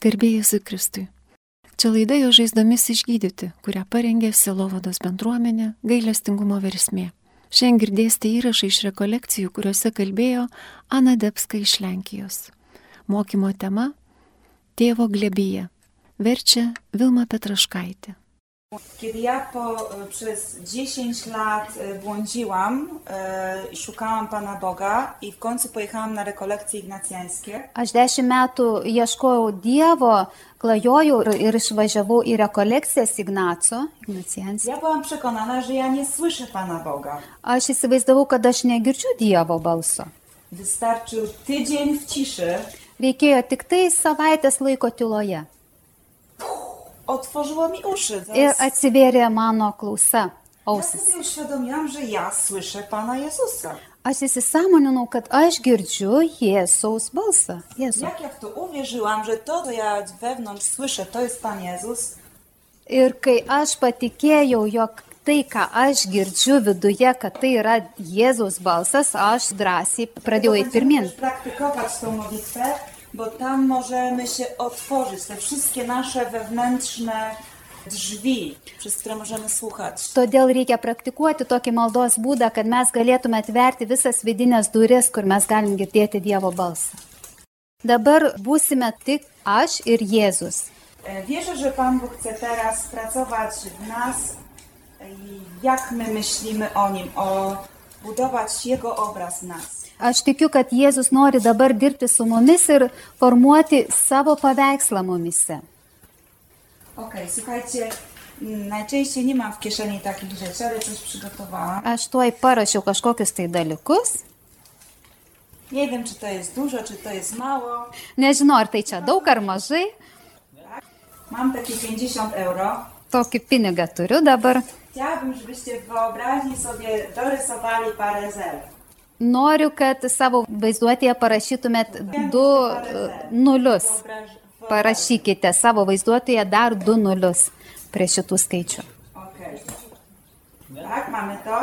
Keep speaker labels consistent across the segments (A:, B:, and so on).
A: Garbėjus Kristui. Čia laida jo žaizdomis išgydyti, kurią parengė Silovados bendruomenė gailestingumo versmė. Šiandien girdėsite įrašą iš rekolekcijų, kuriuose kalbėjo Ana Debska iš Lenkijos. Mokymo tema - Tėvo glebyje. Verčia Vilma Petraškaitė.
B: Kiedy ja po, e, przez 10 lat e, błądziłam, e, szukałam Pana Boga i w końcu pojechałam na rekolekcje ignacjańskie,
C: Aš dešimt metų ieškojau Dievo, klajojau ir, ir išvažiavau į rekolekcijas Ignaco. Ignacijanskio.
B: ja byłam przekonana, że ja nie słyszę Pana Boga.
C: Aš įsivaizdavau, kad aš negirdžiu Dievo balso.
B: Wystarczył tydzień w ciszy,
C: Reikėjo tik tai savaitės laiko tyloje.
B: otworzyło mi uszy.
C: Ir
B: Zaraz
C: atsivėrė mano klausa,
B: ja
C: ausis.
B: sobie uświadomiłam, że ja słyszę Pana Jezusa.
C: Aš įsisamoninau, kad aš girdžiu Jėzaus balsą. Jėzų.
B: Jak ja w to uwierzyłam, że to, co ja wewnątrz słyszę, to jest Pan Jezus,
C: Ir kai aš patikėjau, jog tai, ką aš girdžiu viduje, kad tai yra Jėzaus balsas, aš drąsiai pradėjau eiti pirmin.
B: Będziemy też praktykować tą modlitwę, bo tam możemy się otworzyć, te wszystkie nasze wewnętrzne drzwi, przez które możemy słuchać.
C: Todėl reikia praktikuoti tokį maldos būdą, kad mes galėtume atverti visas vidinės duris, kur mes galim girdėti Dievo balsą. Dabar būsime tik aš ir Jėzus.
B: E, Wierzę, że Pan Bóg chce teraz pracować w nas, e, i jak my myślimy o Nim, o budować Jego obraz w nas.
C: Aš tikiu, kad Jėzus nori dabar dirbti su mumis ir formuoti savo paveikslą mumise.
B: Okej, słuchajcie, m, najczęściej nie mam w kieszeni takich rzeczy, ale coś przygotowałam.
C: Aš tuoj parašiau kažkokius tai dalykus.
B: Nie wiem, czy to jest dużo, czy to jest mało.
C: Nežinau, ar tai čia daug ar mažai.
B: Mam takie 50 euro.
C: Tokį pinigą turiu dabar.
B: Chciałabym, żebyście w wyobraźni sobie dorysowali parę zer.
C: Noriu, kad savo vaizduotėje parašytumėt du e, nulius.
B: Wyobraż... wo-
C: Parašykite savo vaizduotėje dar du nulius prie šitų skaičių.
B: Okej. Tak, mamy to.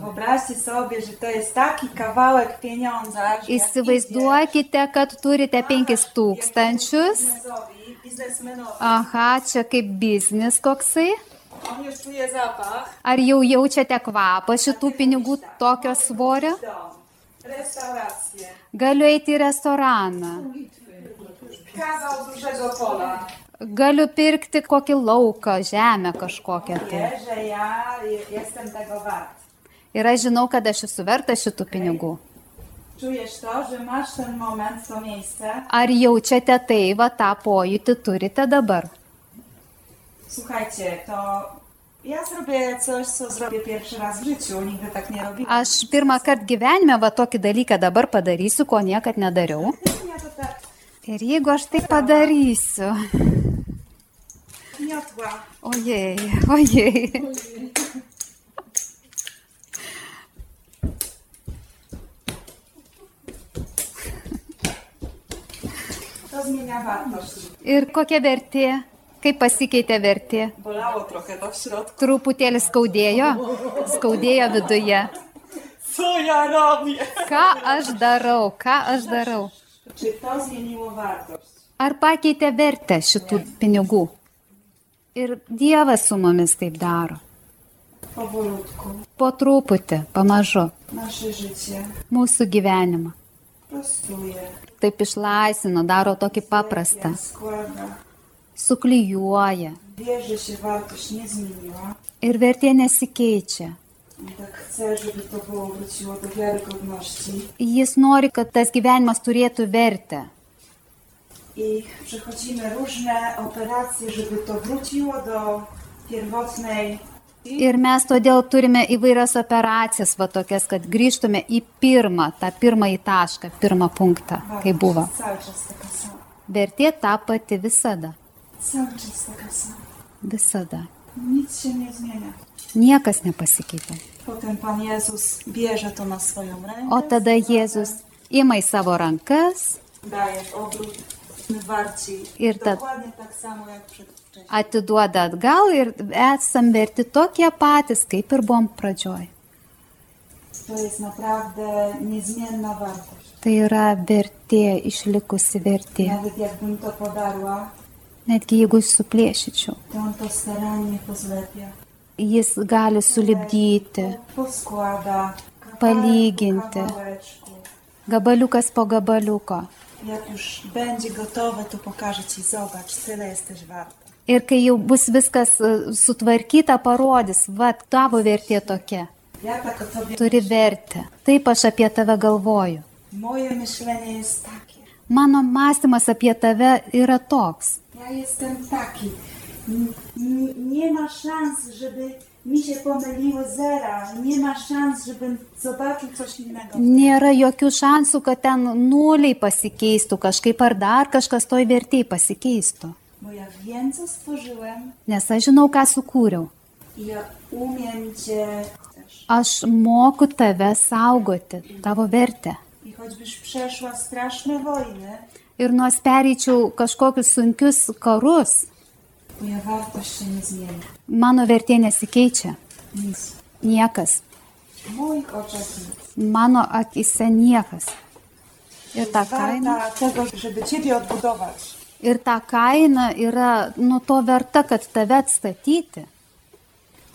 B: Wyobraźcie sobie, że to jest taki kawałek pieniądza, że jak idzie
C: Įsivaizduokite, kad turite 5000.
B: biznesowi, biznesmenowi,
C: Aha, čia kaip biznis koksai.
B: on już czuje zapach,
C: Ar jau jaučiate kvapą šitų pinigų tokio svorio?
B: dom, restaurację,
C: Galiu eiti į restoraną.
B: kawał dużego pola.
C: Galiu pirkti kokį lauką, žemę kažkokią. Tai.
B: Wie, że ja je- jestem tego wart.
C: Ir aš žinau, kad aš esu verta šitų pinigų.
B: Czujesz to, że masz ten moment, to miejsce.
C: Ar jaučiate tai, va tą pojūtį turite dabar?
B: Słuchajcie, to ja zrobię coś, co zrobię pierwszy raz w życiu. Nigdy tak nie robiłam.
C: Aš pirmą kartą gyvenime va tokį dalyką dabar padarysiu, ko niekad nedariau.
B: Ja to tak
C: Ir jeigu aš tai padarysiu,
B: miotła.
C: ojei, ojei.
B: To zmienia wartość.
C: Ir kokia vertė? Kaip pasikeitė vertė?
B: Bolało trochę to w środku.
C: Truputėlį skaudėjo, skaudėjo viduje.
B: Co ja robię?
C: Ką aš darau, ką aš darau?
B: Czy to zmieniło wartość?
C: Ar pakeitė vertę šitų pinigų? Ir Dievas su mumis taip daro.
B: Powolutku.
C: Po truputį, pamažu,
B: Nasze życie
C: mūsų gyvenimą.
B: prostuje. Tak
C: Taip išlaisvina, daro tokį paprastą.
B: Ja składa.
C: Suklyjuoja
B: Wierzę się, wartość nie zmieniła.
C: ir vertė nesikeičia.
B: I tak chcę, żeby to było wróciło do wiarygodności.
C: Jis nori, kad tas gyvenimas turėtų vertę.
B: i przechodzimy różne operacje, żeby to wróciło do pierwotnej.
C: Ir mes todėl turime įvairias operacijas, va tokias, kad grįžtume į pirmą, tą pirmąjį tašką, pirmą punktą, kai buvo.
B: Cały czas taka sama.
C: Vertė ta pati visada.
B: Cały czas taka sama.
C: Visada.
B: Nic się nie zmienia.
C: Niekas nepasikeitė.
B: Potem Pan Jezus bierze to na swoją rękę.
C: O tada Jėzus ima į savo rankas,
B: Daje w obrót. My warci.
C: Ir ta-
B: Dokładnie tak samo jak przedwcześnie.
C: atiduoda atgal ir esam verti tokie patys, kaip ir buvom pradžioj.
B: To jest naprawdę niezmienna wartość.
C: Tai yra vertė, išlikusi vertė.
B: Nawet jakbym to podarła,
C: Netgi jeigu suplėšyčiau,
B: to on to starannie pozlepia.
C: jis gali sulibdyti
B: Poskłada. kawałek po
C: Paliginty.
B: kawałeczku.
C: gabaliukas po gabaliuko.
B: Jak już będzie gotowe, to pokażę Ci, zobacz, tyle jesteś warta.
C: Ir kai jau bus viskas e, sutvarkyta, parodys, va, tavo vertė tokia,
B: Ja tak o Tobie,
C: turi vertę. Taip aš apie tave galvoju.
B: moje myślenie jest takie.
C: Mano mąstymas apie tave yra toks.
B: Ja jestem taki. N- n- Nie ma szans, żeby mi się pomyliło zera. Nie ma szans, żebym zobaczył coś innego.
C: Nėra jokių šansų, kad ten nuliai pasikeistų kažkaip ar dar kažkas toj vertėjai pasikeistų.
B: Bo ja wiem, co stworzyłem
C: Nes aš žinau, ką sukūriau.
B: i ja umiem Cię też.
C: Aš moku tave saugoti, tavo vertę.
B: I choćbyś przeszła straszne wojny,
C: Ir nors pereičiau kažkokius sunkius karus,
B: moja wartość się nie zmieni.
C: mano vertė nesikeičia.
B: Nic.
C: Niekas.
B: W moich oczach nic.
C: Mano akise niekas. Ir ta kaina.
B: Warta tego, żeby Ciebie odbudować.
C: Ir ta kaina yra nuo to verta, kad tave atstatyti.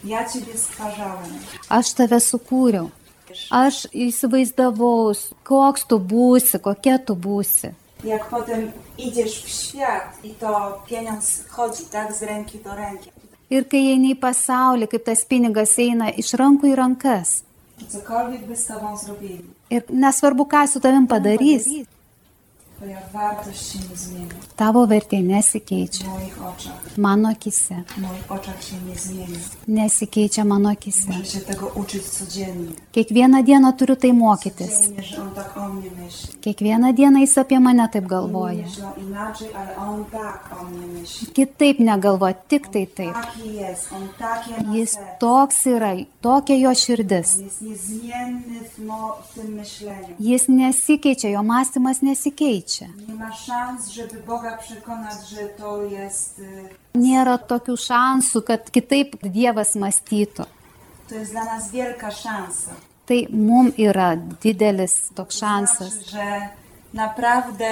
B: Ja Ciebie stwarzałem.
C: Aš tave sukūriau. Aš įsivaizdavau, koks tu būsi, kokia tu būsi.
B: Jak potem idziesz w świat i to pieniądz chodzi tak z ręki do ręki.
C: Ir kai eini į pasaulį, kaip tas pinigas eina iš rankų į rankas.
B: I cokolwiek by z tobą zrobili,
C: Ir nesvarbu, ką su tavim padarys,
B: twoja wartość się nie zmieni
C: tavo vertė
B: w
C: nesikeičia.
B: moich oczach.
C: Mano akise.
B: W moich oczach się nie zmieni.
C: Nesikeičia mano akise.
B: Muszę się tego uczyć codziennie.
C: Kiekvieną dieną turiu tai mokytis.
B: Codziennie, że on tak o mnie myśli.
C: Kiekvieną dieną jis apie mane taip
B: Inni
C: galvoja.
B: myślą inaczej, ale on tak o mnie myśli.
C: Kitaip negalvoja, tik tai taip.
B: Taki jest, on takie ma
C: Jis
B: serce.
C: toks yra, tokia jo širdis.
B: On jest niezmienny w, mo- w tym myśleniu.
C: Jis nesikeičia, jo mąstymas nesikeičia.
B: Nie ma szans, żeby Boga przekonać, że to jest... y,
C: Nėra tokių šansų, kad kitaip Dievas mąstytų.
B: To jest dla nas wielka szansa.
C: Tai mum yra didelis toks
B: Znaczy,
C: šansas.
B: że naprawdę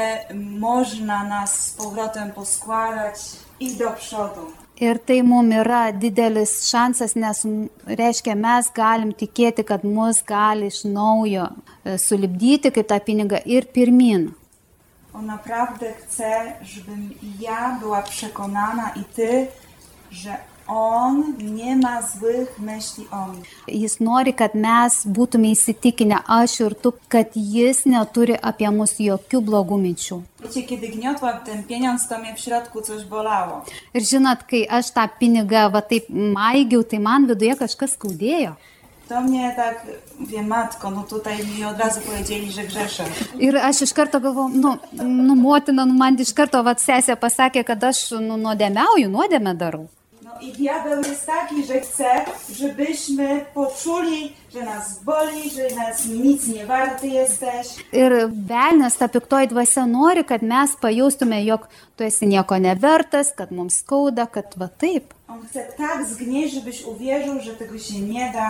B: można nas z powrotem poskładać i do przodu.
C: Ir tai mum yra didelis šansas, nes m- reiškia, mes galim tikėti, kad mus gali iš naujo e, sulibdyti kaip tą pinigą ir pirmin.
B: On naprawdę chce, żebym ja była przekonana i ty, że on nie ma złych myśli o mnie.
C: Jis nori, kad mes būtume įsitikinę, aš ir tu, kad jis neturi apie mus jokių blogų minčių.
B: Wiecie, kiedy gniotłam ten pieniądz, to mnie w środku coś bolało.
C: Ir žinot, kai aš tą pinigą va taip maigiau, tai man viduje kažkas skaudėjo.
B: To mnie tak, wie matko, no tutaj mi od razu powiedzieli, że grzeszę.
C: Ir aš iš karto galvojau, nu, nu motina, nu, man iš karto va sesė pasakė, kad aš nu, nuodėmiauju, nuodėmę darau.
B: No i diabeł jest taki, że chce, żebyśmy poczuli, że nas boli, że nas nic nie warty jesteś.
C: Ir velnės ta piktoji dvasia nori, kad mes pajaustume, jog tu esi nieko nevertas, kad mums skauda, kad va taip.
B: On chce tak zgnieść, żebyś uwierzył, że tego się nie da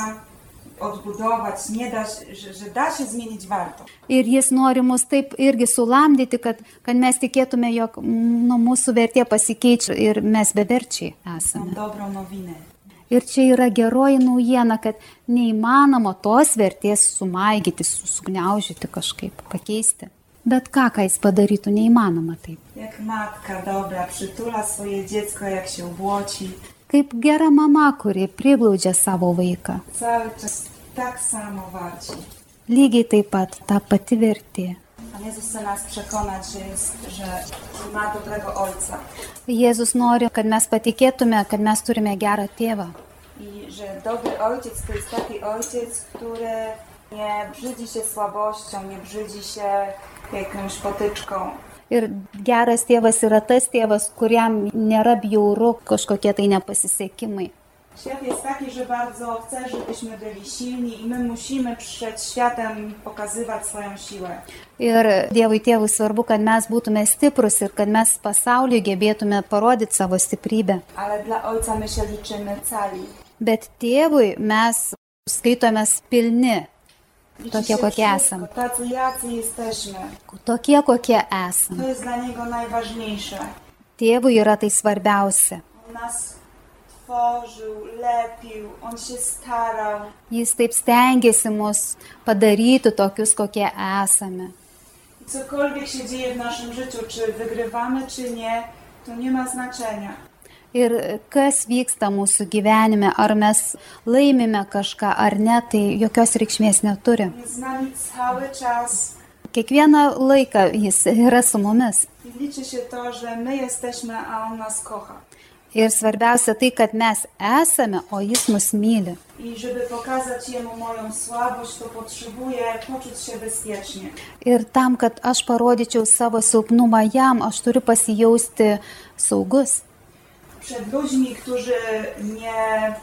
B: odbudować, nie da, się- że, że da się zmienić warto.
C: Ir jis nori mus taip irgi sulamdyti, kad, kad mes tikėtume, jog mm, nu, mūsų vertė pasikeičia ir mes beverčiai
B: Mam
C: esame.
B: dobrą nowinę.
C: Ir čia yra geroji naujiena, kad neįmanoma tos vertės sumaigyti, su- sugniaužyti kažkaip, pakeisti. Bet ką, ką jis padarytų, neįmanoma taip.
B: Jak matka dobra przytula swoje dziecko, jak się obłoci.
C: Kaip gera mama, kuri priglaudžia savo vaiką.
B: Cały czas tak samo warci.
C: Lygiai taip pat ta pati vertė.
B: Pan Jezus chce nas przekonać, że, jest, że ma dobrego ojca.
C: Jėzus nori, kad mes patikėtume, kad mes turime gerą tėvą.
B: I że dobry ojciec to jest taki ojciec, który nie brzydzi się słabością, nie brzydzi się jakąś potyczką.
C: Ir geras tėvas yra tas tėvas, kuriam nėra bjauru kažkokie tai nepasisekimai.
B: Świat jest taki, że bardzo chce, żebyśmy byli silni i my musimy przed światem pokazywać swoją siłę.
C: Ir Dievui tėvui svarbu, kad mes būtume stiprus ir kad mes pasauliu gebėtume parodyti savo stiprybę.
B: Ale dla ojca my się liczymy cali.
C: Bet tėvui mes skaitomės pilni. Tokie, kokie esame.
B: Tacy jacy jesteśmy.
C: Tokie, kokie esame.
B: To jest dla Niego najważniejsze.
C: Tėvui yra tai svarbiausia.
B: On nas tworzył, lepił, On się starał.
C: Jis taip stengiasi mus padaryti tokius, kokie esame.
B: I Cokolwiek się dzieje w naszym życiu, czy wygrywamy, czy nie, to nie ma znaczenia.
C: Ir kas vyksta mūsų gyvenime, ar mes laimime kažką ar ne, tai jokios reikšmės neturi.
B: On jest z nami cały czas
C: Kiekvieną laiką jis yra su mumis.
B: i liczy się to, że my jesteśmy, a On nas kocha.
C: Ir svarbiausia tai, kad mes esame, o jis mus myli.
B: I żeby pokazać Jemu moją słabość, to potrzebuję poczuć się bezpiecznie.
C: Ir tam, kad aš parodyčiau savo silpnumą jam, aš turiu pasijausti saugus.
B: Przed ludźmi, którzy nie,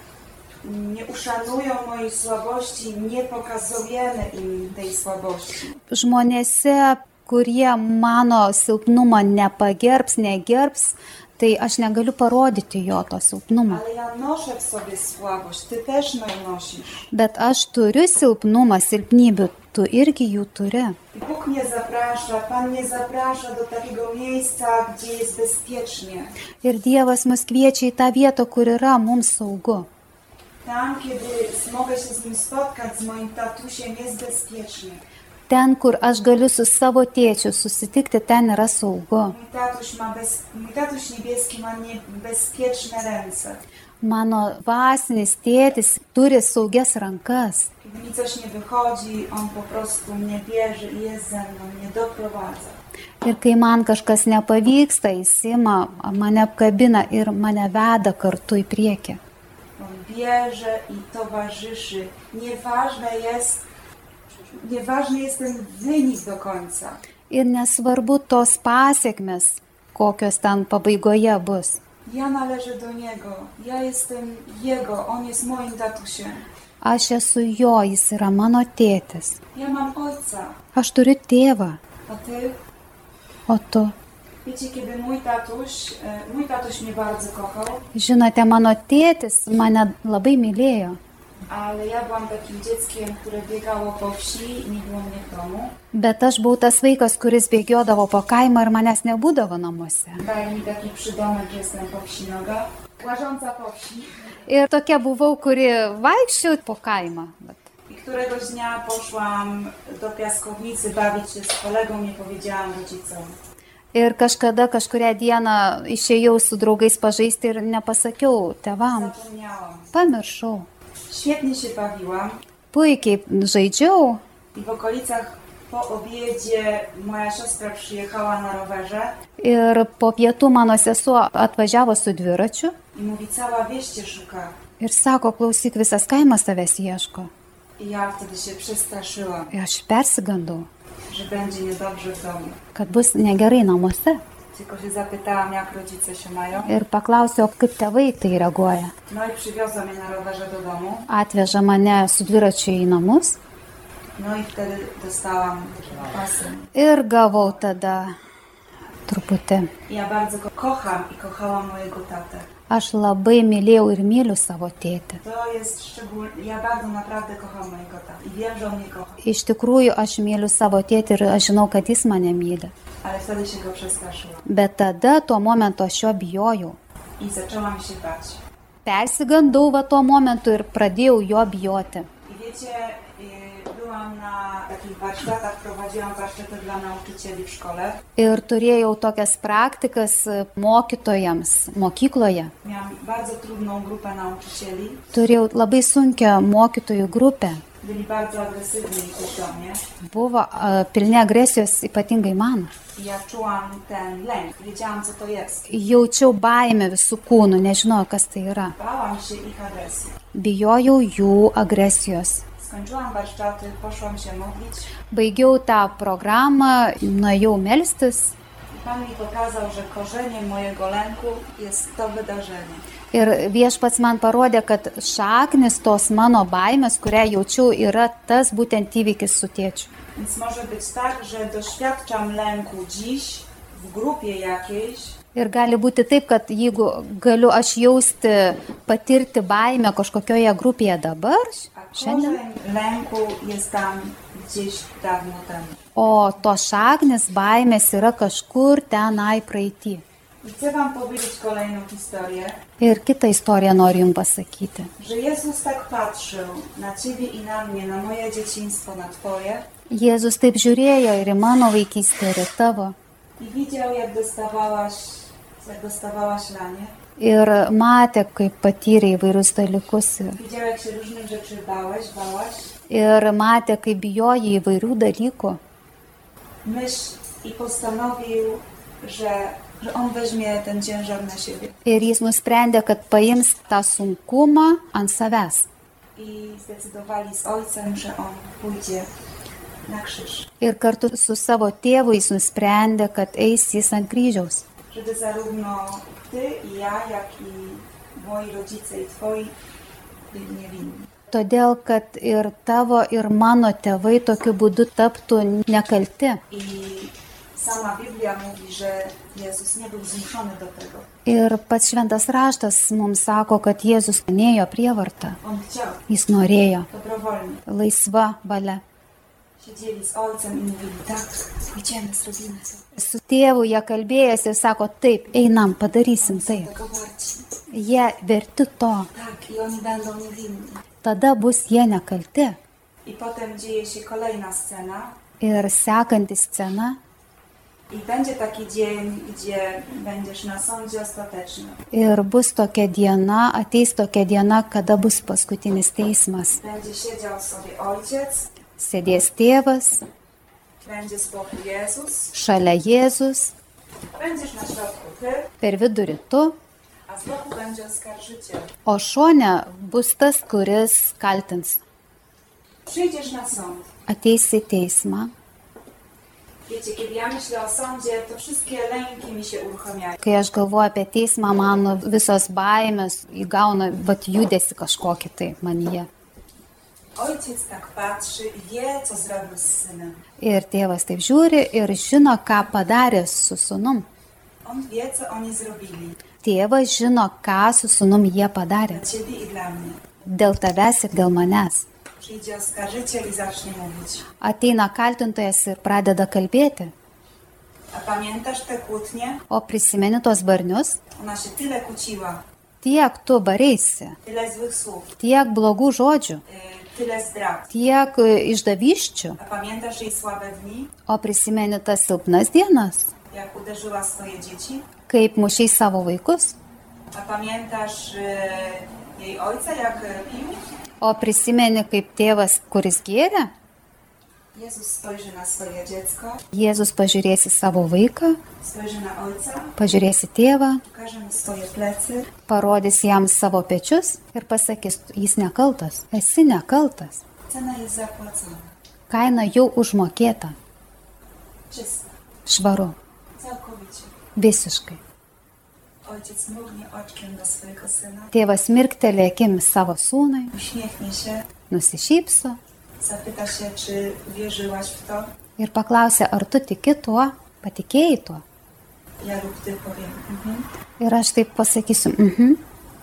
B: nie uszanują mojej słabości, nie pokazujemy im tej słabości.
C: Žmonėse, kurie mano silpnumą nepagerbs, negerbs, tai aš negaliu parodyti jo to silpnumo.
B: Ale ja noszę w sobie słabość, Ty też ją nosisz.
C: Bet aš turiu silpnumą, silpnybių, tu irgi jų turi.
B: I Bóg mnie zaprasza, Pan mnie zaprasza do takiego miejsca, gdzie jest bezpiecznie.
C: Ir Dievas mus kviečia į tą vietą, kur yra mums saugu.
B: Tam, kiedy mogę się z nim spotkać, z moim tatusiem, jest bezpiecznie.
C: Ten, kur aš galiu su savo tėčiu susitikti, ten yra saugu.
B: Mój tatuś, ma bez... Mój tatuś niebieski ma niebezpieczne ręce.
C: Mano vasinis tėtis turi saugias rankas.
B: Kiedy mi coś nie wychodzi, on po prostu mnie bierze i jest ze mną, mnie doprowadza.
C: Ir kai man kažkas nepavyksta, jis ima, mane apkabina ir mane veda kartu į priekį.
B: On bierze i towarzyszy. Nieważne jest, nieważny jest ten wynik do końca.
C: Ir nesvarbu tos pasiekmes, kokios ten pabaigoje bus.
B: Ja należę do niego, ja jestem jego, on jest moim tatusiem.
C: Aš esu jo, jis yra mano tėtis.
B: Ja mam ojca,
C: Aš turiu tėvą,
B: a ty?
C: o tu.
B: Wiecie, kiedy mój tatuś, e, mój tatuś mnie bardzo kochał,
C: Žinote, mano tėtis mane labai mylėjo,
B: ale ja byłam takim dzieckiem, które biegało po wsi, nie było mnie w domu.
C: bet aš buvau tas vaikas, kuris bėgiodavo po kaimą ir manęs nebūdavo namuose.
B: Daje mi taki przydomek, że jestem po wsi noga. Łażąca po wsi.
C: Ir tokia buvau, kuri vaikščiau po kaimą. vat.
B: I któregoś dnia poszłam do piaskownicy bawić się z kolegą, nie powiedziałam rodzicom.
C: Ir kažkada kažkuria diena išėjau su draugais pažaisti ir nepasakiau tevam.
B: Zapomniałam.
C: Pamiršau.
B: Świetnie się bawiłam
C: Puikiai žaidžiau
B: i w okolicach po obiedzie moja siostra przyjechała na rowerze
C: ir po pietų mano sesuo atvažiavo su dviračiu
B: i mówi, cała wieś cię szuka.
C: ir sako, klausyk, visas kaimas tavęs ieško.
B: I ja wtedy się przestraszyłam,
C: Ir aš persigandau,
B: że będzie niedobrze w domu.
C: kad bus negerai namuose.
B: Tylko się zapytałam, jak rodzice się mają.
C: Ir paklausiau, kaip tėvai į tai reaguoja.
B: No i przywiozła mnie na rowerze do domu.
C: Atveža mane su dviračiu į namus
B: No i wtedy dostałam pasy.
C: ir gavau tada truputį.
B: Ja bardzo go kocham i kochałam mojego tatę.
C: Aš labai mylėjau ir myliu savo tėtį.
B: To jest szczególne. Ja bardzo naprawdę kocham mojego tatę i wiem, że on mnie kocha.
C: Iš tikrųjų, aš myliu savo tėtį ir aš žinau, kad jis mane myli.
B: Ale wtedy się go przestraszyłam
C: Bet tada tuo momentu aš jo bijojau.
B: i zaczęłam się bać.
C: Persigandau va tuo momentu ir pradėjau jo bijoti.
B: I wiecie, yy, byłam na takich warsztatach, prowadziłam warsztaty dla nauczycieli w szkole.
C: Ir turėjau tokias praktikas e, mokytojams mokykloje.
B: Miałam bardzo trudną grupę nauczycieli.
C: Turėjau labai sunkę mokytojų grupę.
B: Byli bardzo agresywni też do mnie.
C: Buvo e, pilni agresijos ypatingai man.
B: I ja czułam ten lęk. Wiedziałam, co to jest.
C: Jaučiau baimę visų kūnų, nežinojau, kas tai yra.
B: Bałam się ich agresji.
C: Bijojau jų agresijos.
B: Skończyłam warsztaty, poszłam się modlić.
C: Baigiau tą programą, nuėjau melstis
B: I Pan mi pokazał, że korzeniem mojego lęku jest to wydarzenie.
C: ir viešpats man parodė, kad šaknis tos mano baimės, kurią jaučiu, yra tas būtent įvykis su tėčiu.
B: Więc może być tak, że doświadczam lęku dziś w grupie jakiejś,
C: Ir gali būti taip, kad jeigu galiu aš jausti, patirti baimę kažkokioje grupėje dabar,
B: a
C: Šiandien?
B: Korzeń lęku jest tam gdzieś dawno temu.
C: O tos šaknis baimės yra kažkur tenai praeitį.
B: I chcę Wam powiedzieć kolejną historię,
C: Ir kitą istoriją noriu Jums pasakyti.
B: że Jezus tak patrzył na Ciebie i na mnie, na moje dzieciństwo, na Twoje
C: Jėzus taip žiūrėjo ir į mano vaikystę, ir į tavo.
B: i widział, jak dostawałaś, jak dostawałaś lanie.
C: Ir matė, kaip patyrė įvairius dalykus. ir-
B: Widział, jak się różnych rzeczy bałeś, bałaś.
C: Ir matė, kaip bijoji įvairių dalykų.
B: Myśl i postanowił, że, że On weźmie ten ciężar na siebie.
C: Ir jis nusprendė, kad paims tą sunkumą ant savęs.
B: I zdecydowali z Ojcem, że On pójdzie na krzyż.
C: Ir kartu su savo tėvu jis nusprendė, kad eis jis ant kryžiaus.
B: Żeby zarówno Ty i ja, jak i moi rodzice i Twoi byli niewinni.
C: Todėl, kad ir tavo, ir mano tėvai tokiu būdu taptų nekalti.
B: I sama Biblia mówi, że Jezus nie był zmuszony do tego.
C: Ir pats šventas raštas mums sako, kad Jėzus nėjo prievartą.
B: On chciał,
C: Jis norėjo
B: dobrowolnie.
C: laisva valia.
B: Siedzieli z Ojcem i mówili, tak, idziemy, zrobimy to.
C: Su tėvu jie kalbėjęs ir sako, taip, einam, padarysim tai.
B: Tego warci.
C: Jie verti to,
B: Tak, i oni będą niewinni.
C: tada bus jie nekalti.
B: I potem dzieje się kolejna scena.
C: Ir sekanti scena
B: I będzie taki dzień, gdzie będziesz na sądzie ostatecznym.
C: ir bus tokia diena, ateis tokia diena, kada bus paskutinis teismas.
B: Będzie siedział sobie ojciec,
C: Sėdės tėvas,
B: będzie z boku Jezus,
C: šalia Jėzus,
B: będziesz na środku ty,
C: per vidurį tu,
B: a z boku będzie oskarżyciel.
C: o šone bus tas, kuris kaltins.
B: Przyjdziesz na sąd.
C: Ateis į teismą.
B: Wiecie, kiedy ja myślę o sądzie, to wszystkie lęki mi się uruchamiają.
C: Kai aš galvoju apie teismą, mano visos baimės įgauna vat judesi kažkokį tai manyje.
B: Ojciec tak patrzy i wie, co zrobił z synem.
C: Ir tėvas taip žiūri ir žino, ką padarė su sunum.
B: On wie, co oni zrobili.
C: Tėvas žino, ką su sunum jie padarė.
B: Dla ciebie i dla mnie.
C: Dėl tavęs ir dėl manęs.
B: Przyjdzie oskarżyciel i zacznie mówić.
C: Ateina kaltintojas ir pradeda kalbėti.
B: A pamiętasz te kłótnie?
C: O prisimeni tos barnius?
B: Ona się tyle kłóciła,
C: Tiek tu bareisi,
B: tyle złych słów,
C: tiek blogų žodžių,
B: y, tyle zdrad.
C: tiek e, išdavyščių.
B: A pamiętasz jej słabe dni,
C: O prisimeni tas silpnas dienas,
B: jak uderzyła swoje dzieci?
C: kaip mušiai savo vaikus.
B: A pamiętasz y, jej ojca, jak y, pił?
C: O prisimeni kaip tėvas, kuris gėrė.
B: Jezus spojrzy na swoje dziecko,
C: Jėzus pažiūrėsi savo vaiką,
B: spojrzy na ojca,
C: pažiūrėsi tėvą,
B: pokaże mu swoje plecy,
C: parodys jam savo pečius ir pasakys, jis nekaltas, esi nekaltas.
B: cena jest zapłacona.
C: Kaina jau užmokėta,
B: Czysta,
C: švaru,
B: całkowicie.
C: visiškai.
B: Ojciec mrugnie oczkiem do swojego syna,
C: Tėvas mirktelė akimis savo sūnui,
B: uśmiechnie się,
C: nusišypso
B: zapyta się, czy wierzyłaś w to.
C: ir paklausė, ar tu tiki tuo, patikėjai tuo.
B: Ja lub ty powiem, mhm.
C: Ir aš taip pasakysiu, mhm.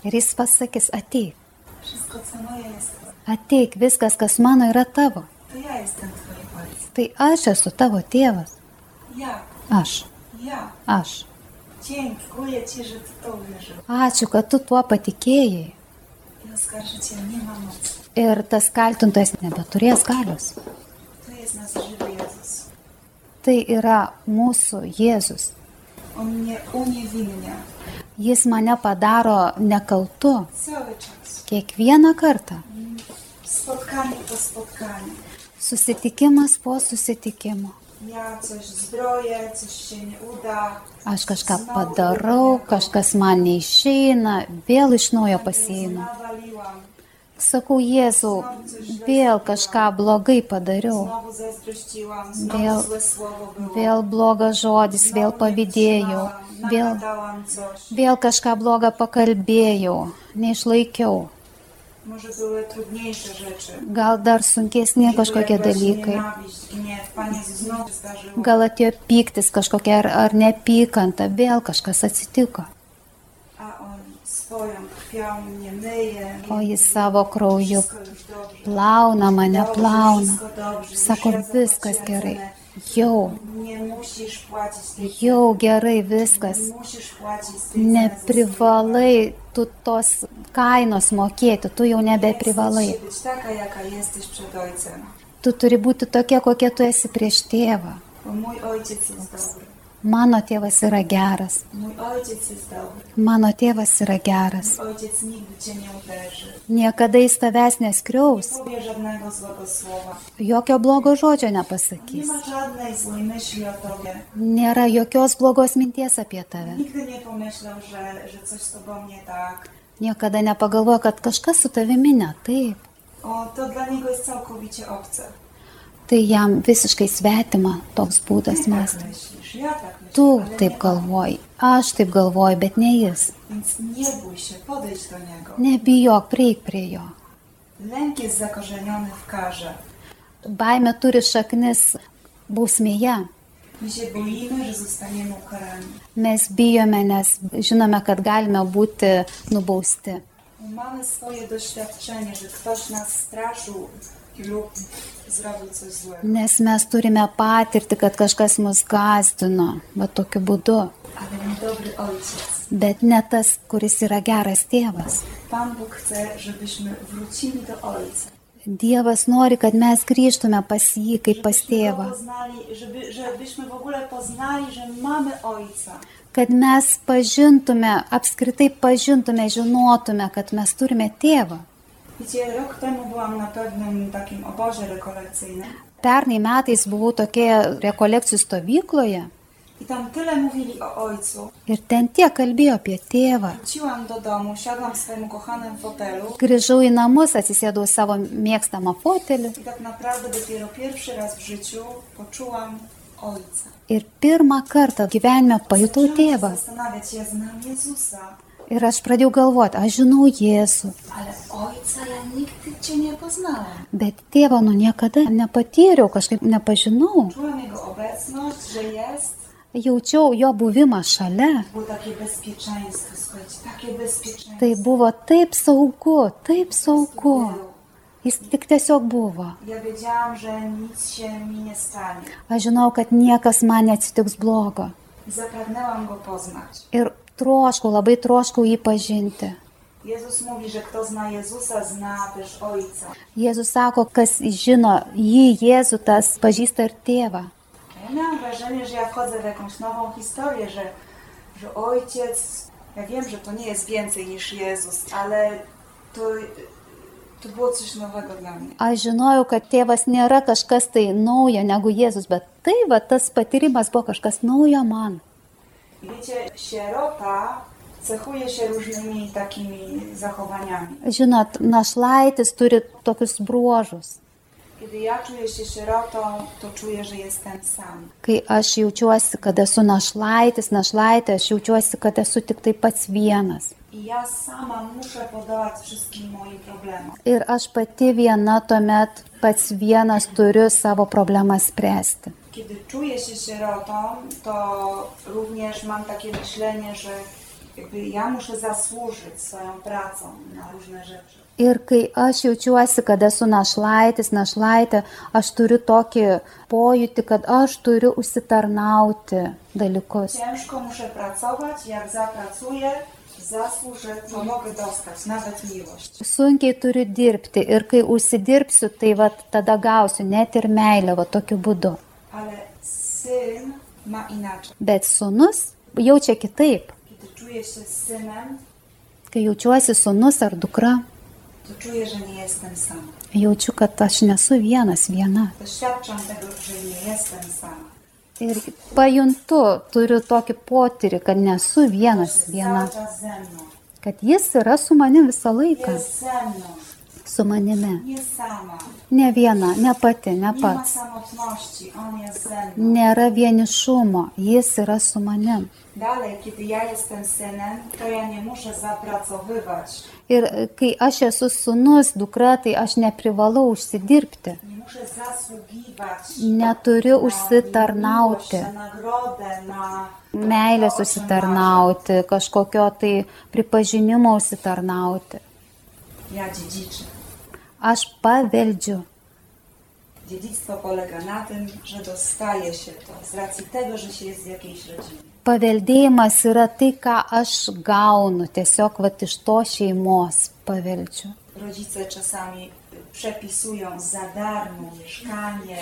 C: Ir jis pasakys, ateik,
B: wszystko co moje jest twoje.
C: ateik, viskas, kas mano yra tavo.
B: To ja jestem twoim ojcem.
C: Tai aš esu tavo tėvas.
B: Ja,
C: Aš,
B: ja.
C: aš.
B: Dziękuję ci, że ty to uwierzył.
C: Ačiū, kad tu tuo patikėjai.
B: I oskarżyciel nie ma mocy.
C: Ir tas kaltintojas nebeturės galios.
B: To jest nasz żywy Jezus.
C: Tai yra mūsų Jėzus.
B: On mnie uniewinnia
C: Jis mane padaro nekaltu
B: cały czas.
C: kiekvieną kartą.
B: Spotkanie po spotkaniu.
C: Susitikimas po susitikimo.
B: Ja coś zbroję, coś się nie uda.
C: Aš kažką
B: Znowu
C: padarau,
B: tego.
C: kažkas man neišeina, vėl iš naujo pasiėmė.
B: Nawaliłam.
C: Sakau, Jėzau, vėl kažką blogai padariau,
B: Znowu zazdrościłam,
C: Vėl-
B: znowu złe słowo było.
C: vėl blogas žodis,
B: Znowu
C: vėl
B: nie
C: pavydėjau,
B: wytrzymałam,
C: vėl,
B: nagadałam coś.
C: vėl kažką blogą pakalbėjau, neišlaikiau.
B: Może były trudniejsze rzeczy.
C: Gal dar sunkesni kažkokie
B: Były właśnie
C: dalykai.
B: Nienawiść, gniew, Pan Jezus znowu zdarzyło.
C: Gal atėjo pyktis kažkokia ar, ar nepykanta, vėl kažkas atsitiko.
B: A on Swoją krwią mnie myje.
C: o jis savo krauju
B: Wszystko już dobrze.
C: plauna mane,
B: Dobrze,
C: plauna.
B: Wszystko dobrze.
C: Sako,
B: Już ja
C: viskas
B: zapłaciłem
C: gerai.
B: cenę.
C: Jau,
B: Nie musisz płacić tej
C: jau gerai viskas.
B: Nie musisz płacić tej ceny za
C: Neprivalai tu tos kainos mokėti, tu jau
B: skrzydę.
C: nebeprivalai.
B: Chcesz być taka, jaka jesteś przed ojcem.
C: Tu turi būti tokia, kokia tu esi prieš tėvą.
B: Bo mój ojciec jest dobry.
C: Mano tėvas yra geras.
B: Mój ojciec jest dobry.
C: Mano tėvas yra geras.
B: Mój ojciec nigdy cię nie uderzy.
C: Niekada jis tavęs neskriaus.
B: Nie powie żadnego złego słowa.
C: Jokio blogo žodžio
B: Nie
C: nepasakys.
B: ma żadnej złej myśli o tobie.
C: Nėra jokios blogos minties apie tave.
B: Nigdy nie pomyślał, że, że coś z tobą nie tak.
C: Niekada nepagalvoja, kad kažkas su tavimi ne taip.
B: O, to dla niego jest całkowicie obce.
C: Tai jam visiškai svetima toks
B: Ty
C: būdas
B: tak
C: mąstyti.
B: myślisz, ja tak myślę.
C: Tu
B: ale
C: taip
B: nie.
C: galvoji, aš taip galvoju, bet ne jis.
B: Więc nie bój się, podejdź do niego.
C: Nebijok, prieik prie jo.
B: Lęk jest zakorzeniony w karze.
C: Baime turi šaknis bausmėje.
B: My się boimy, że zostaniemy ukarani.
C: Mes bijome, nes žinome, kad galime būti nubausti.
B: Mamy swoje doświadczenie, że ktoś nas straszył lub zrobił coś złego.
C: Nes mes turime patirti, kad kažkas mus gazdino, va tokiu būdu.
B: Ale mój dobry ojciec,
C: Bet ne tas, kuris yra geras tėvas.
B: Pan Bóg chce, żebyśmy wrócili do Ojca.
C: Dievas nori, kad mes grįžtume pas jį kaip pas
B: Żebyśmy go
C: tėvą.
B: Poznali, żeby, żebyśmy w ogóle poznali, że mamy Ojca.
C: Kad mes pažintume, apskritai pažintume, žinotume, kad mes turime tėvą.
B: Wiecie, rok temu byłam na pewnym takim obozie rekolekcyjnym
C: Pernai metais buvau tokioje rekolekcijų stovykloje
B: i tam tyle mówili o Ojcu.
C: ir ten tiek kalbėjo apie tėvą.
B: Wróciłam do domu, siadłam w swoim ukochanym fotelu
C: Grįžau į namus, atsisėdau į savo mėgstamą fotelį
B: i tak naprawdę dopiero pierwszy raz w życiu poczułam Ojca.
C: ir pirmą kartą gyvenime pajutau
B: Zaczęłam
C: tėvą.
B: się Zastanawiać, ja znam Jezusa,
C: Ir aš pradėjau galvoti, aš žinau Jėzų,
B: ale Ojca ja nigdy Cię nie poznałam.
C: bet tėvą nu niekada nepatyriau, kažkaip nepažinau.
B: Czułam Jego obecność, że jest.
C: Jaučiau jo buvimą šalia.
B: Było takie bezpieczeństwo, słuchajcie, takie bezpieczeństwo.
C: Tai buvo taip saugu, taip saugu. Jis tik tiesiog buvo.
B: Ja wiedziałam, że nic się mi nie stanie.
C: Aš žinau, kad niekas man neatsitiks blogo.
B: I Zapragnęłam Go poznać.
C: Ir troškau, labai troškau jį pažinti.
B: Jezus mówi, że kto zna Jezusa, zna też Ojca.
C: Jėzus sako, kas žino jį, Jėzų, tas pažįsta ir tėvą.
B: Ja miałam wrażenie, że ja wchodzę w jakąś nową historię, że, że ojciec, ja wiem, że to nie jest więcej niż Jezus, ale to, to było coś nowego dla mnie.
C: Aš žinojau, kad tėvas nėra kažkas tai naujo negu Jėzus, bet tai va tas patyrimas buvo kažkas naujo man.
B: I Wiecie, sierota cechuje się różnymi takimi zachowaniami.
C: Žinot, našlaitis turi tokius bruožus.
B: Kiedy ja czuję się sierotą, to czuję, że jestem sam.
C: Kai aš jaučiuosi, kad esu našlaitis, našlaitė, aš jaučiuosi, kad esu tik tai pats vienas.
B: I ja sama muszę podołać wszystkim moim problemom.
C: Ir aš pati viena tuomet pats vienas turiu savo problemą spręsti.
B: Kiedy czuję się sierotą, to również mam takie myślenie, że jakby ja muszę zasłużyć swoją pracą na różne rzeczy.
C: Ir kai aš jaučiuosi, kad esu našlaitis, našlaitė, aš turiu tokį pojūtį, kad aš turiu užsitarnauti dalykus.
B: Ciężko muszę pracować, jak zapracuję, zasłużę, to mogę dostać nawet miłość.
C: Sunkiai turiu dirbti ir kai užsidirbsiu, tai va tada gausiu net ir meilę va tokiu būdu.
B: Ale syn ma inaczej.
C: Bet sunus jaučia kitaip.
B: Kiedy czuję się z synem,
C: Kai jaučiuosi sunus ar dukra,
B: to czuję, że nie jestem sam.
C: jaučiu, kad aš nesu vienas viena.
B: Doświadczam tego, że nie jestem sama.
C: Ir pajuntu, turiu tokį potyrį, kad nesu vienas
B: Jest
C: viena.
B: cały czas ze mną.
C: Kad jis yra su manimi visą laiką.
B: Jest ze mną.
C: Su manimi.
B: Nie sama.
C: Ne viena, ne pati, ne
B: Nie ma
C: pats.
B: samotności, on jest ze mną.
C: Nėra vienišumo, jis yra su manim.
B: Dalej, kiedy ja jestem synem, to ja nie muszę zapracowywać,
C: Ir e, kai aš esu sunus, dukra, tai aš neprivalau užsidirbti.
B: nie muszę muszę zasługiwać
C: Neturiu
B: miłość,
C: užsitarnauti,
B: na nagrodę, na
C: meilės
B: na
C: užsitarnauti, kažkokio tai pripažinimo užsitarnauti.
B: otrzymanie. Ja dziedziczę.
C: Aš paveldžiu.
B: Dziedzictwo polega na tym, że dostaje się to z racji tego, że się jest z jakiejś rodziny.
C: Paveldėjimas yra tai, ką aš gaunu, tiesiog vat, iš to šeimos paveldžiu.
B: Rodzice czasami y, przepisują za darmo mieszkanie,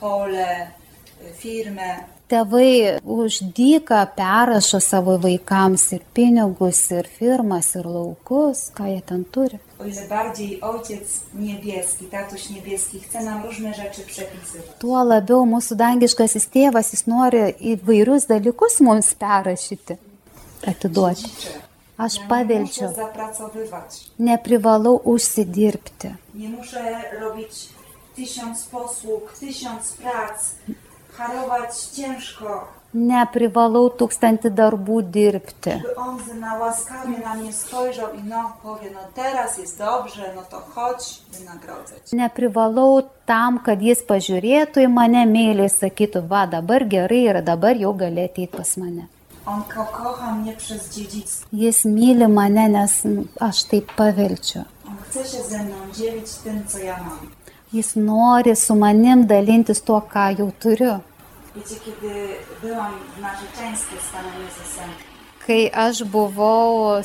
B: pole, y, firmę.
C: Tėvai už dyką perrašo savo vaikams ir pinigus, ir firmas, ir laukus, ką jie ten turi.
B: O ile bardziej ojciec niebieski, tatuś niebieski chce nam różne rzeczy przepisywać.
C: Tuo labiau mūsų dangiškasis tėvas, jis nori įvairius dalykus mums perrašyti, atiduoti.
B: Dziedziczę.
C: Aš
B: Ja nie muszę
C: paveldžiu,
B: zapracowywać.
C: neprivalau užsidirbti.
B: Nie muszę robić tysiąc posług, tysiąc prac, harować ciężko,
C: Neprivalau tūkstantį darbų dirbti.
B: by on na łaskawie na mnie spojrzał i no powie, no teraz jest dobrze, no to chodź, wynagrodzę cię.
C: Neprivalau tam, kad jis pažiūrėtų į mane meiliai, sakytų, va dabar gerai ir dabar jau gali ateiti pas mane.
B: On kocha mnie przez dziedzictwo.
C: Jis myli mane, nes aš tai paveldžiu.
B: On chce się ze mną dzielić tym, co ja mam.
C: Jis nori su manim dalintis tuo, ką jau turiu.
B: Wiecie, kiedy byłam w narzeczeństwie z Panem Jezusem,
C: Kai aš buvau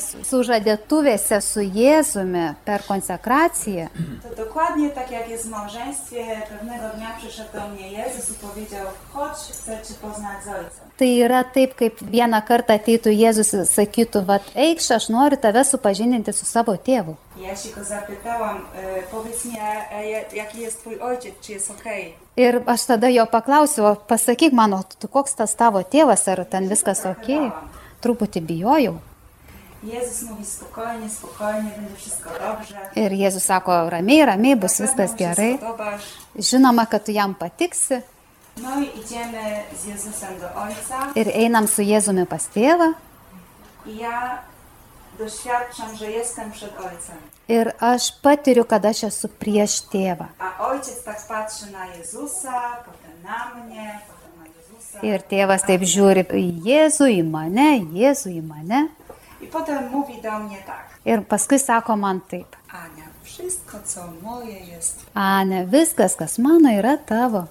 C: sužadėtuvėse su Jėzumi per konsekraciją,
B: to dokładnie tak jak jest w małżeństwie, pewnego dnia przyszedł do mnie Jezus i powiedział, chodź, chcę Cię poznać z Ojcem.
C: tai yra taip, kaip vieną kartą ateitų Jėzus ir sakytų, va eikš, aš noriu tave supažindinti su savo tėvu.
B: I Ja się go zapytałam, e, powiedz mi, a, a, ja- jaki jest Twój ojciec, czy jest okej?
C: Ir aš tada jo paklausiau, "O pasakyk mano, tu koks tas tavo tėvas, ar ten viskas ok? Truputį bijojau.
B: Jezus mówi spokojnie, spokojnie, będzie wszystko dobrze.
C: Ir Jėzus sako, ramiai, ramiai, bus
B: Na
C: viskas
B: pewno mu się
C: gerai.
B: spodobasz.
C: Žinoma, kad tu jam patiksi.
B: No i idziemy z Jezusem do Ojca
C: Ir einam su Jėzumi pas tėvą.
B: i ja doświadczam, że jestem przed Ojcem.
C: Ir aš patiriu, kad aš esu prieš tėvą.
B: A Ojciec tak patrzy na Jezusa, potem na mnie, potem na Jezusa.
C: Ir tėvas taip žiūri į Jėzų, į mane, Jėzų, į mane.
B: I potem mówi do mnie tak.
C: Ir paskui sako man taip.
B: Ania, wszystko co moje jest.
C: Ane, viskas, kas mano, yra tavo.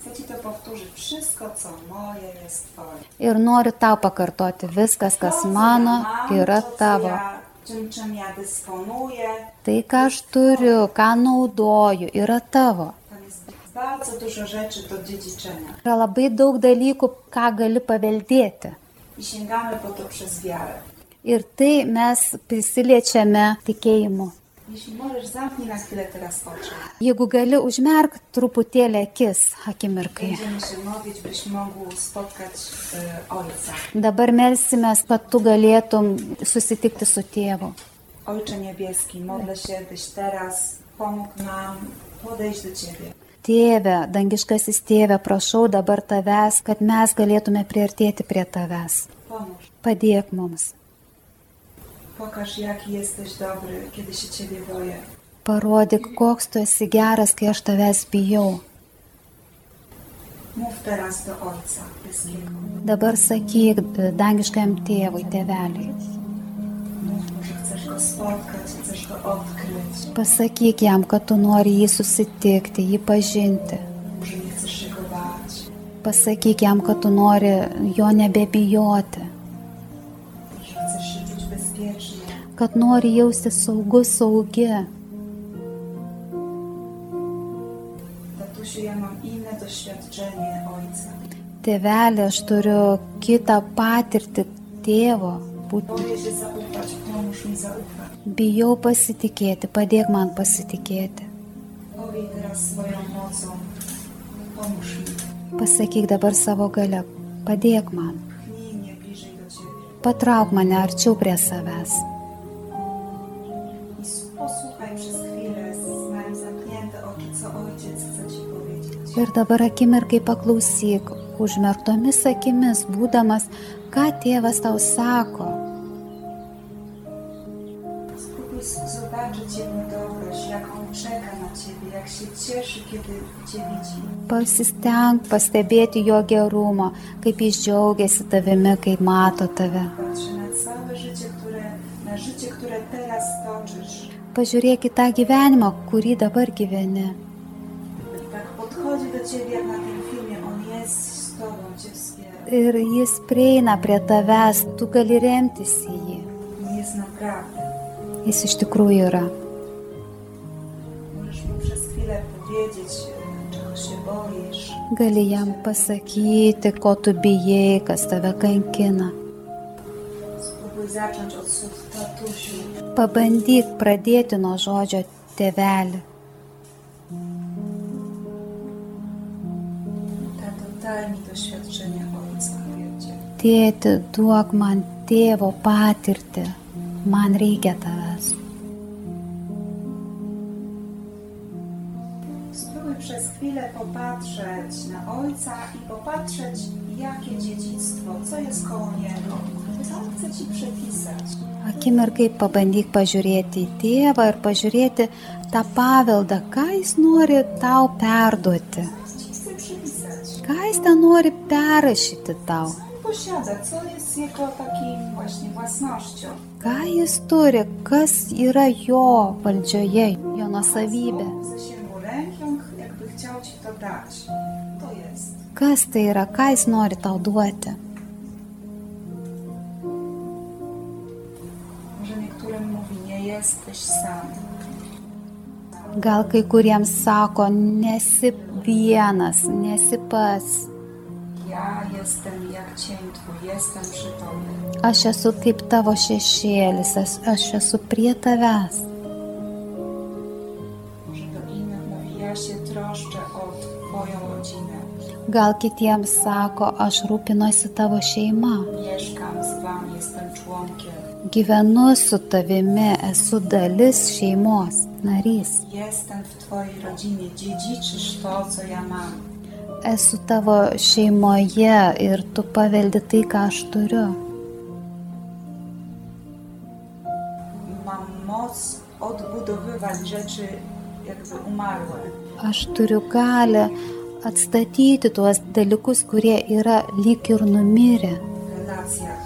B: Chcę Ci to powtórzyć. Wszystko co moje jest Twoje.
C: Ir noriu tau pakartoti, viskas,
B: To,
C: kas
B: co ja
C: mano,
B: mam,
C: yra
B: to, co
C: tavo.
B: ja- Czym, czym ja dysponuję.
C: Tai, ką aš turiu, ką naudoju, yra tavo.
B: Tam jest bardzo dużo rzeczy do dziedziczenia.
C: Yra labai daug dalykų, ką gali paveldėti.
B: I sięgamy po to przez wiarę.
C: Ir tai mes prisiliečiame tikėjimu.
B: Jeśli możesz, zamknij na chwilę teraz oczy.
C: Jeigu gali užmerk truputėlį akis akimirkai.
B: Będziemy się modlić, byś mógł spotkać y, Ojca.
C: Dabar melsimės, kad tu galėtum susitikti su tėvu.
B: Ojcze Niebieski, modlę się, byś teraz pomógł nam podejść do Ciebie.
C: Tėve, dangiškasis tėve, prašau dabar tavęs, kad mes galėtume priartėti prie tavęs.
B: Pomóż.
C: Padėk mums.
B: Pokaż, jaki jesteś dobry, kiedy się Ciebie boję.
C: Parodyk, koks tu esi geras, kai aš tavęs bijau.
B: Mów teraz do Ojca Niebieskiego.
C: Dabar sakyk e, dangiškajam tėvui, tėveliui.
B: Mów mu, że chcesz Go spotkać, chcesz Go odkryć,
C: Pasakyk jam, kad tu nori jį susitikti, jį pažinti.
B: że nie chcesz się Go bać,
C: Pasakyk jam, kad tu nori jo nebebijoti,
B: że chcesz się czuć bezpiecznie.
C: kad nori jausti saugus, saugi.
B: Tatusiu, ja mam inne doświadczenie Ojca.
C: Tėvelė, aš turiu kitą patirtį tėvo. Būt-
B: Boję się zaufać, pomóż mi zaufać.
C: Bijau pasitikėti, padėk man pasitikėti.
B: Powiej teraz swoją mocą, pomóż mi.
C: Pasakyk dabar savo gale, padėk man.
B: Pchnij mnie bliżej do Ciebie
C: Patrauk mane arčiau prie savęs.
B: i s- posłuchaj przez chwilę, znając zamknięte oczy, co Ojciec chce Ci powiedzieć.
C: Ir dabar akimirkai paklausyk, užmerktomis akimis būdamas, ką tėvas tau sako.
B: Spróbuj s- zobaczyć Jego dobroć, jak On czeka na Ciebie, jak się cieszy, kiedy Cię widzi.
C: Pasisteng pastebėti jo gerumo, kaip jis džiaugiasi tavimi, kaip mato tave.
B: Patrzy na całe życie, które, na życie, które teraz toczysz.
C: Pažiūrėk į tą gyvenimą, kurį dabar gyveni.
B: I tak podchodzi do Ciebie jak na tym filmie. On jest z Tobą, Cię wspiera.
C: Ir jis prieina prie tavęs, tu gali remtis į jį.
B: On jest naprawdę.
C: Jis iš tikrųjų yra.
B: Możesz mu przez chwilę powiedzieć, e, czego się boisz.
C: Gali jam pasakyti, ko tu bijai, kas tave kankina.
B: Spróbuj zacząć od słów tatusiu.
C: Pabandyk pradėti nuo žodžio tėvelį.
B: Tato, daj mi doświadczenie ojca, mówię Cię.
C: Tėti, duok man tėvo patirtį. Man reikia tavęs.
B: Spróbuj przez chwilę popatrzeć na ojca i popatrzeć, jakie dziedzictwo, co jest koło niego. Co on chce ci przepisać?
C: Akimirkai pabandyk pažiūrėti į tėvą ir pažiūrėti tą paveldą, ką jis nori tau perduoti.
B: Co ci chce przypisać?
C: Ką jis ten nori perrašyti tau?
B: Co on posiada? Co jest jego takim właśnie własnością?
C: Ką jis turi, kas yra jo valdžioje, jo nusavybė?
B: Zasięgu ręką, jakby chciał ci to dać. To jest.
C: Kas tai yra, ką jis nori tau duoti?
B: Może niektórym mówi, nie jesteś sam.
C: Gal kai kuriems sako, nesi vienas, nesi pats,
B: Ja jestem jak cień twój, jestem przy tobie.
C: Aš esu kaip tavo šešėlis, as- aš esu prie tavęs.
B: Może do innych mówi, ja się troszczę o twoją rodzinę.
C: Gal kitiems sako, aš rūpinosi tavo šeima,
B: Mieszkam z Wami, jestem członkiem.
C: gyvenu su tavimi, esu dalis šeimos, narys.
B: Jestem w Twojej rodzinie, dziedziczysz to, co ja mam.
C: Esu tavo šeimoje ir tu paveldi tai, ką aš turiu.
B: Mam moc odbudowywać rzeczy jakby umarłe.
C: Aš turiu galę atstatyti tuos dalykus, kurie yra lyg ir numirę
B: W relacjach,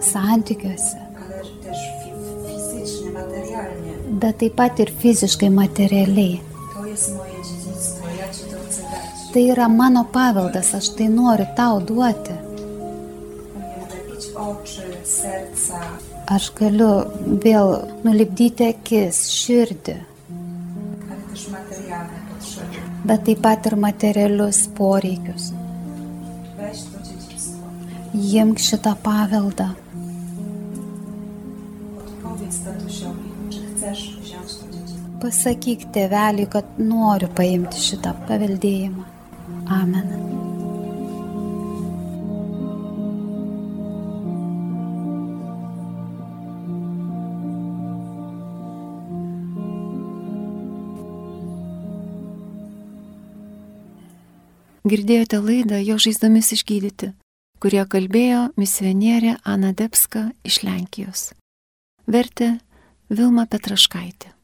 C: santykiuose,
B: ale też fi- fizycznie, materialnie.
C: bet taip pat ir fiziškai materialiai.
B: To jest moje dziedzictwo, ja Ci to chcę dać.
C: Tai yra mano paveldas, aš tai noriu tau duoti.
B: Umiem lepić oczy, serca.
C: Aš galiu vėl nulipdyti akis, širdį,
B: Ale też materialne potrzeby.
C: bet taip pat ir materialius poreikius.
B: Weź to dziedzictwo.
C: Imk šitą paveldą.
B: Odpowiedz tatusiowi, czy chcesz wziąć to dziedzictwo.
C: Pasakyk tėveliui, kad noriu paimti šitą paveldėjimą. Amen.
A: Girdėjote laidą Jo žaizdomis išgydyti, kurie kalbėjo misionierė Ana Debska iš Lenkijos. Vertė Vilma Petraškaitė.